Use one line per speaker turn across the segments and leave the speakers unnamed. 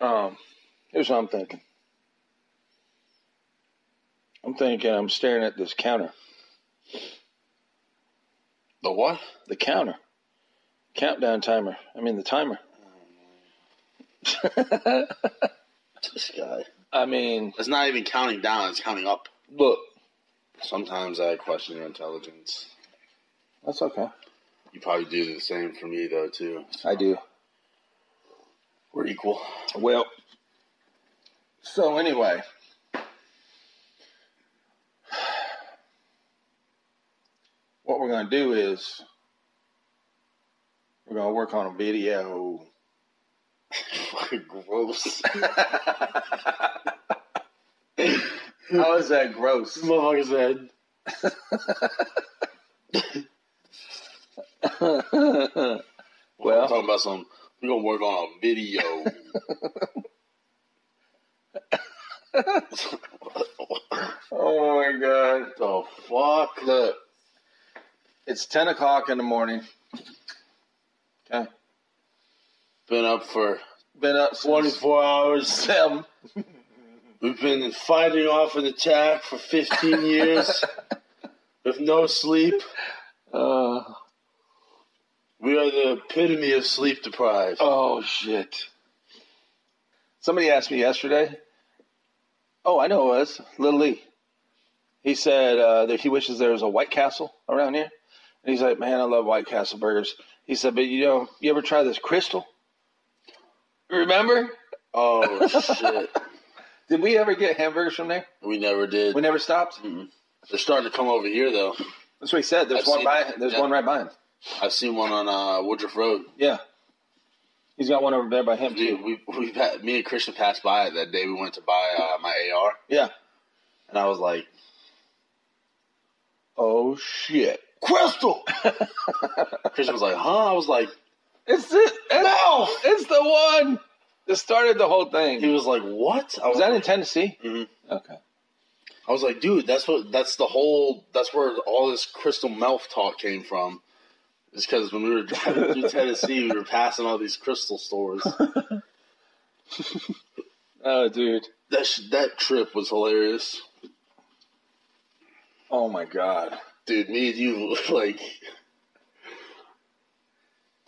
Um, here's what I'm thinking. I'm thinking I'm staring at this counter.
The what?
The counter. Countdown timer. I mean the timer.
This guy.
I mean,
It's not even counting down, it's counting up.
look.
Sometimes I question your intelligence.
That's okay.
You probably do the same for me, though, too.
I do.
We're equal.
Well, so anyway, what we're going to do is we're going to work on a video.
Fucking gross.
How is that gross?
Motherfucker's head. We're
well,
talking about some. We're gonna work on a video.
oh my god.
the fuck?
Look, it's 10 o'clock in the morning. Okay.
Been up for
Been up since
24 hours.
7.
We've been fighting off an attack for 15 years with no sleep.
Uh,
We are the epitome of sleep deprived.
Oh shit! Somebody asked me yesterday. Oh, I know it was Little Lee. He said uh, that he wishes there was a White Castle around here, and he's like, "Man, I love White Castle burgers." He said, "But you know, you ever try this Crystal? Remember?
Oh shit!
Did we ever get hamburgers from there?
We never did.
We never stopped.
They're starting to come over here though.
That's what he said. There's
I've
one
seen
by.
that.
There's
Yeah.
one right by him.
I've seen one on uh, Woodruff Road.
Yeah, he's got one over there by him
Dude,
too.
we we had, me and Christian passed by it that day. We went to buy uh, my AR,
Yeah.
and I was like,
Oh shit!
"Crystal." Christian was like, "Huh?" I was like,
It's it.
"No."
It's the one that started the whole thing.
He was like, "What?" I
Was
was,
Oh, that in Tennessee?
Mhm.
Okay.
I was like, "Dude, that's what. That's the whole. That's where all this crystal mouth talk came from." It's because when we were driving through Tennessee, we were passing all these crystal stores.
Oh, dude.
That sh- that trip was hilarious.
Oh my God.
dude, me and you like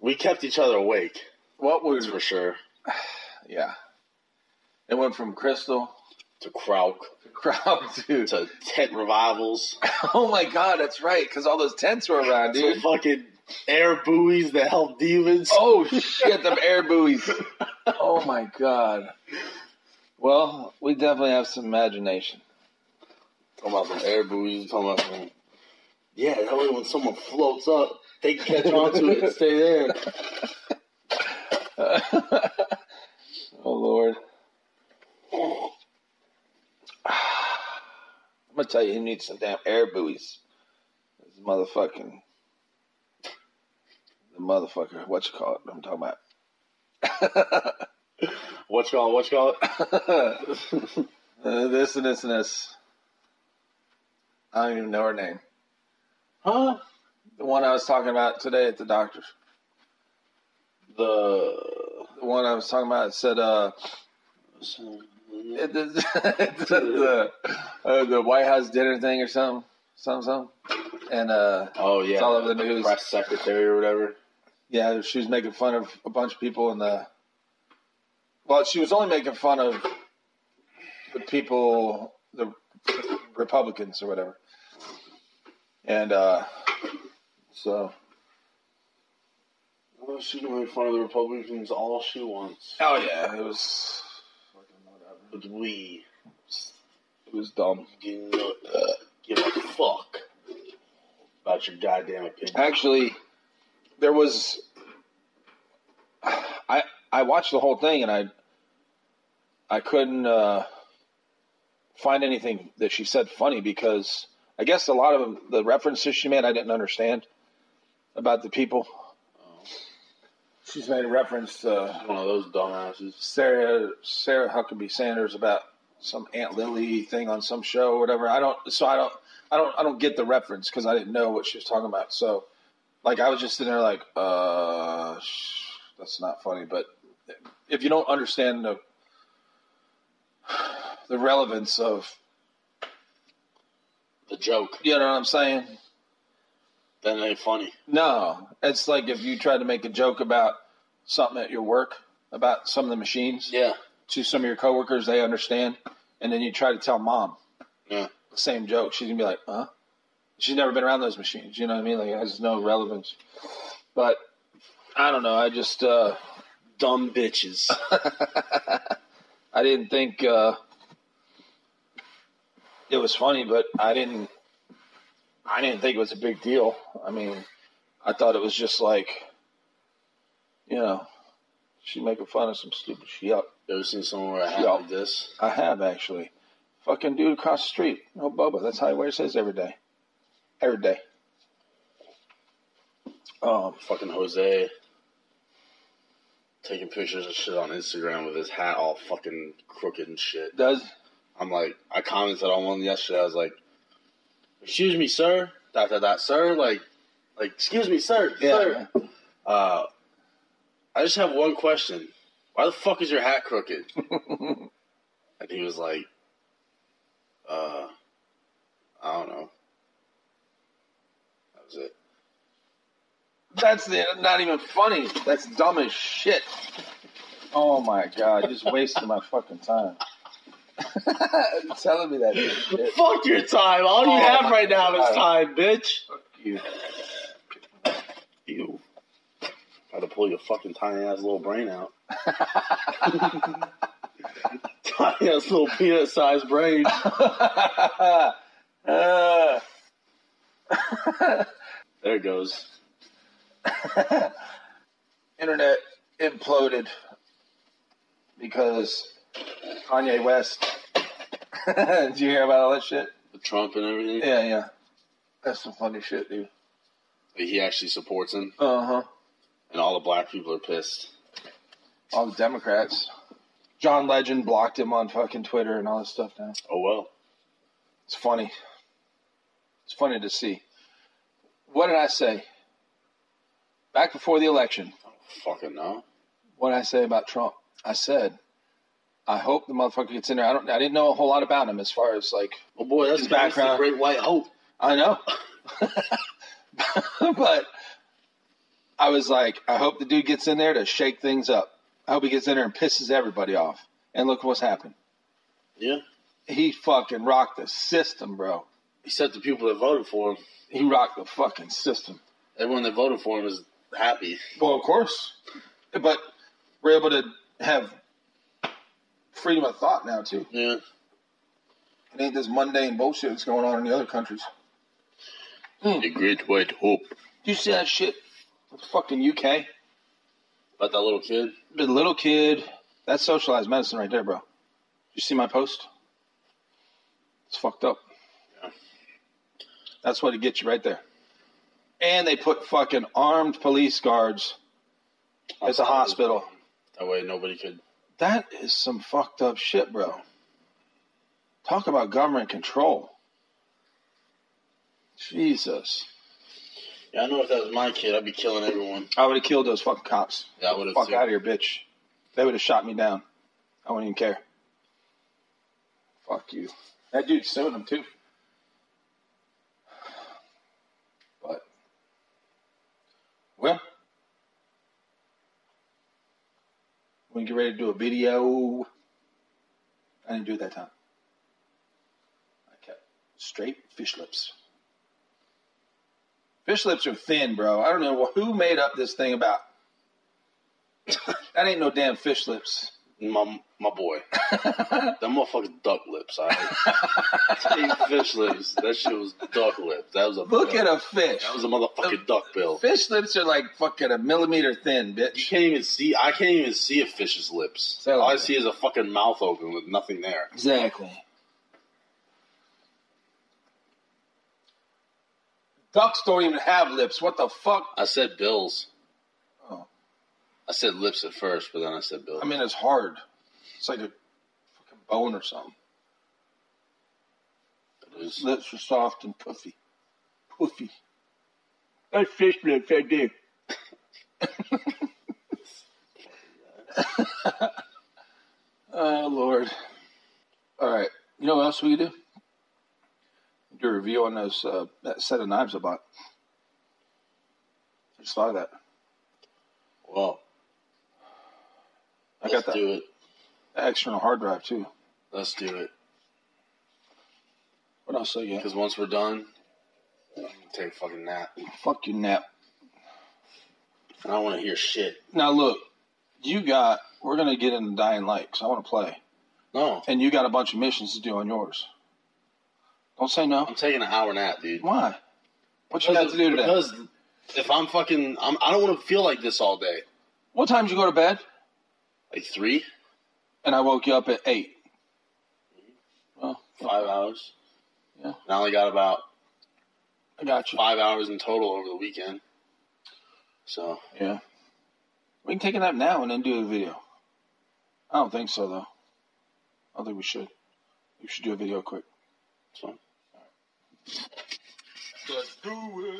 we kept each other awake
What was?
that's for sure.
Yeah. It went from crystal
To Krauk,
to crowd, dude.
to tent revivals,
Oh my God, that's right. Because all those tents were around,
to
dude.
fucking air buoys that help demons.
Oh shit, them air buoys. Oh my God. Well, we definitely have some imagination.
Talking about some air buoys, talking about some yeah. That way, when someone floats up, they can catch onto it and stay there.
oh Lord. I'm gonna tell you, he needs some damn air buoys. This motherfucking, the motherfucker. What you call it? I'm talking about.
What y'all? What y'all?
Uh, this and this and this. I don't even know her name.
Huh?
The one I was talking about today at the doctor's.
The
The one I was talking about said, uh, it- it- the, uh, the White House dinner thing or something, something, something, and uh.
oh yeah,
It's all over the news.
press secretary or whatever.
Yeah, she was making fun of a bunch of people in the. Well, she was only making fun of the people, the Republicans or whatever. And uh, so.
Well, she can make fun of the Republicans all she wants.
Oh yeah, it was.
But we
It was dumb.
do not uh, give a fuck about your goddamn opinion.
Actually, there was. I I watched the whole thing and I. I couldn't uh, find anything that she said funny because I guess a lot of the references she made I didn't understand about the people. She's made a reference to
One of those dumbasses.
Sarah Sarah Huckabee Sanders about some Aunt Lily thing on some show or whatever. I don't so I don't I don't I don't get the reference because I didn't know what she was talking about. So like I was just sitting there like uh sh- that's not funny. But if you don't understand the the relevance of
The joke.
you know what I'm saying?
That ain't funny.
No, it's like if you tried to make a joke about something at your work about some of the machines
Yeah.
to some of your coworkers, they understand, and then you try to tell mom
Yeah.
the same joke, she's gonna be like, "Huh?" She's never been around those machines. You know what I mean? Like it has no relevance. But I don't know. I just uh,
Dumb bitches.
I didn't think uh, it was funny, but I didn't. I didn't think it was a big deal. I mean, I thought it was just like, you know, she making fun of some stupid shit.
you ever seen someone wear a hat
Yeah.
like this?
I have actually. Fucking dude across the street. Oh, Bubba. That's how he wears his every day. Every day. Um,
Fucking Jose taking pictures of shit on Instagram with his hat all fucking crooked and shit.
does
I'm like, I commented on one yesterday. I was like, "Excuse me, sir." Dot dot dot, sir. Like, like, excuse me, sir.
yeah.
Sir. Uh, I just have one question. Why the fuck is your hat crooked? and he was like, "Uh, I don't know." That was it.
That's the, not even funny. That's dumb as shit. Oh my god, just wasting my fucking time. Telling me that shit.
Fuck your time. All you
Oh
have
my
right now
God.
is time, bitch.
Fuck you.
You. Try to pull your fucking tiny ass little brain out. tiny ass little peanut sized brain.
Uh,
There it goes.
internet imploded because Kanye West. Did you hear about all that shit?
The Trump and everything.
Yeah, yeah. That's some funny shit, dude.
He actually supports him,
Uh huh.
and all the black people are pissed.
All the Democrats. John Legend blocked him on fucking Twitter and all this stuff now.
Oh well.
It's funny. It's funny to see. What did I say? Back before the election,
Fucking no.
what did I say about Trump? I said, I hope the motherfucker gets in there. I don't. I didn't know a whole lot about him as far as like
Oh boy, that's
His
the
background.
great white hope.
I know, but I was like, I hope the dude gets in there to shake things up. I hope he gets in there and pisses everybody off. And look what's happened.
Yeah.
He fucking rocked the system, bro.
Except the people that voted for him.
He rocked the fucking system.
Everyone that voted for him is happy.
Well, of course. But we're able to have freedom of thought now, too.
Yeah.
It ain't this mundane bullshit that's going on in the other countries.
The great white hope.
Do you see that shit? The fucking UK.
About that little kid.
The little kid. That's socialized medicine right there, bro. You see my post? It's fucked up.
Yeah.
That's what it gets you right there. And they put fucking armed police guards. It's a hospital.
That way nobody could.
That is some fucked up shit, bro. Talk about government control. Jesus.
Yeah, I know if that was my kid, I'd be killing everyone.
I would have killed those fucking cops.
Yeah, I would have.
Fuck out of here, bitch. They would have shot me down. I wouldn't even care. Fuck you. That dude's suing them too. But well, when you get ready to do a video, I didn't do it that time. I kept straight fish lips. Fish lips are thin, bro. I don't know who made up this thing about. that ain't no damn fish lips.
My my boy. that motherfucking duck lips. I ain't fish lips. That shit was duck lips. That was a
Look
bill.
at a fish.
That was a motherfucking duck bill.
Fish lips are like fucking a millimeter thin,
You
bitch.
can't even see. I can't even see a fish's lips.
Say it like
All I
that.
see is a fucking mouth open with nothing there.
Exactly. Ducks don't even have lips. What the fuck?
I said bills.
Oh.
I said lips at first, but then I said bills.
I mean, it's hard. It's like a fucking bone or something.
It was-
Lips are soft and puffy. Puffy. That's fish lips right there. oh, Lord. All right. You know what else we could do? Do a review on those uh, that set of knives I bought. I just thought of that.
Well,
I
let's
got that,
do it.
that external hard drive too.
Let's do it.
What else I got?
Because once we're done, I'm gonna take a fucking nap.
Fuck your nap.
And I don't want to hear shit.
Now look, you got. We're gonna get into Dying Light 'cause I want to play,
No,
and you got a bunch of missions to do on yours. Don't say no.
I'm taking an hour nap, dude.
Why? What you got to do today?
Because if I'm fucking, I'm, I don't want to feel like this all day.
what time did you go to bed?
Like three,
And I woke you up at eight. Well,
five hours.
Yeah.
And I only got about
I got you.
five hours in total over the weekend. So
Yeah. We can take a nap now and then do a video. I don't think so, though. I don't think we should. We should do a video quick.
it's fine.
Let's do it.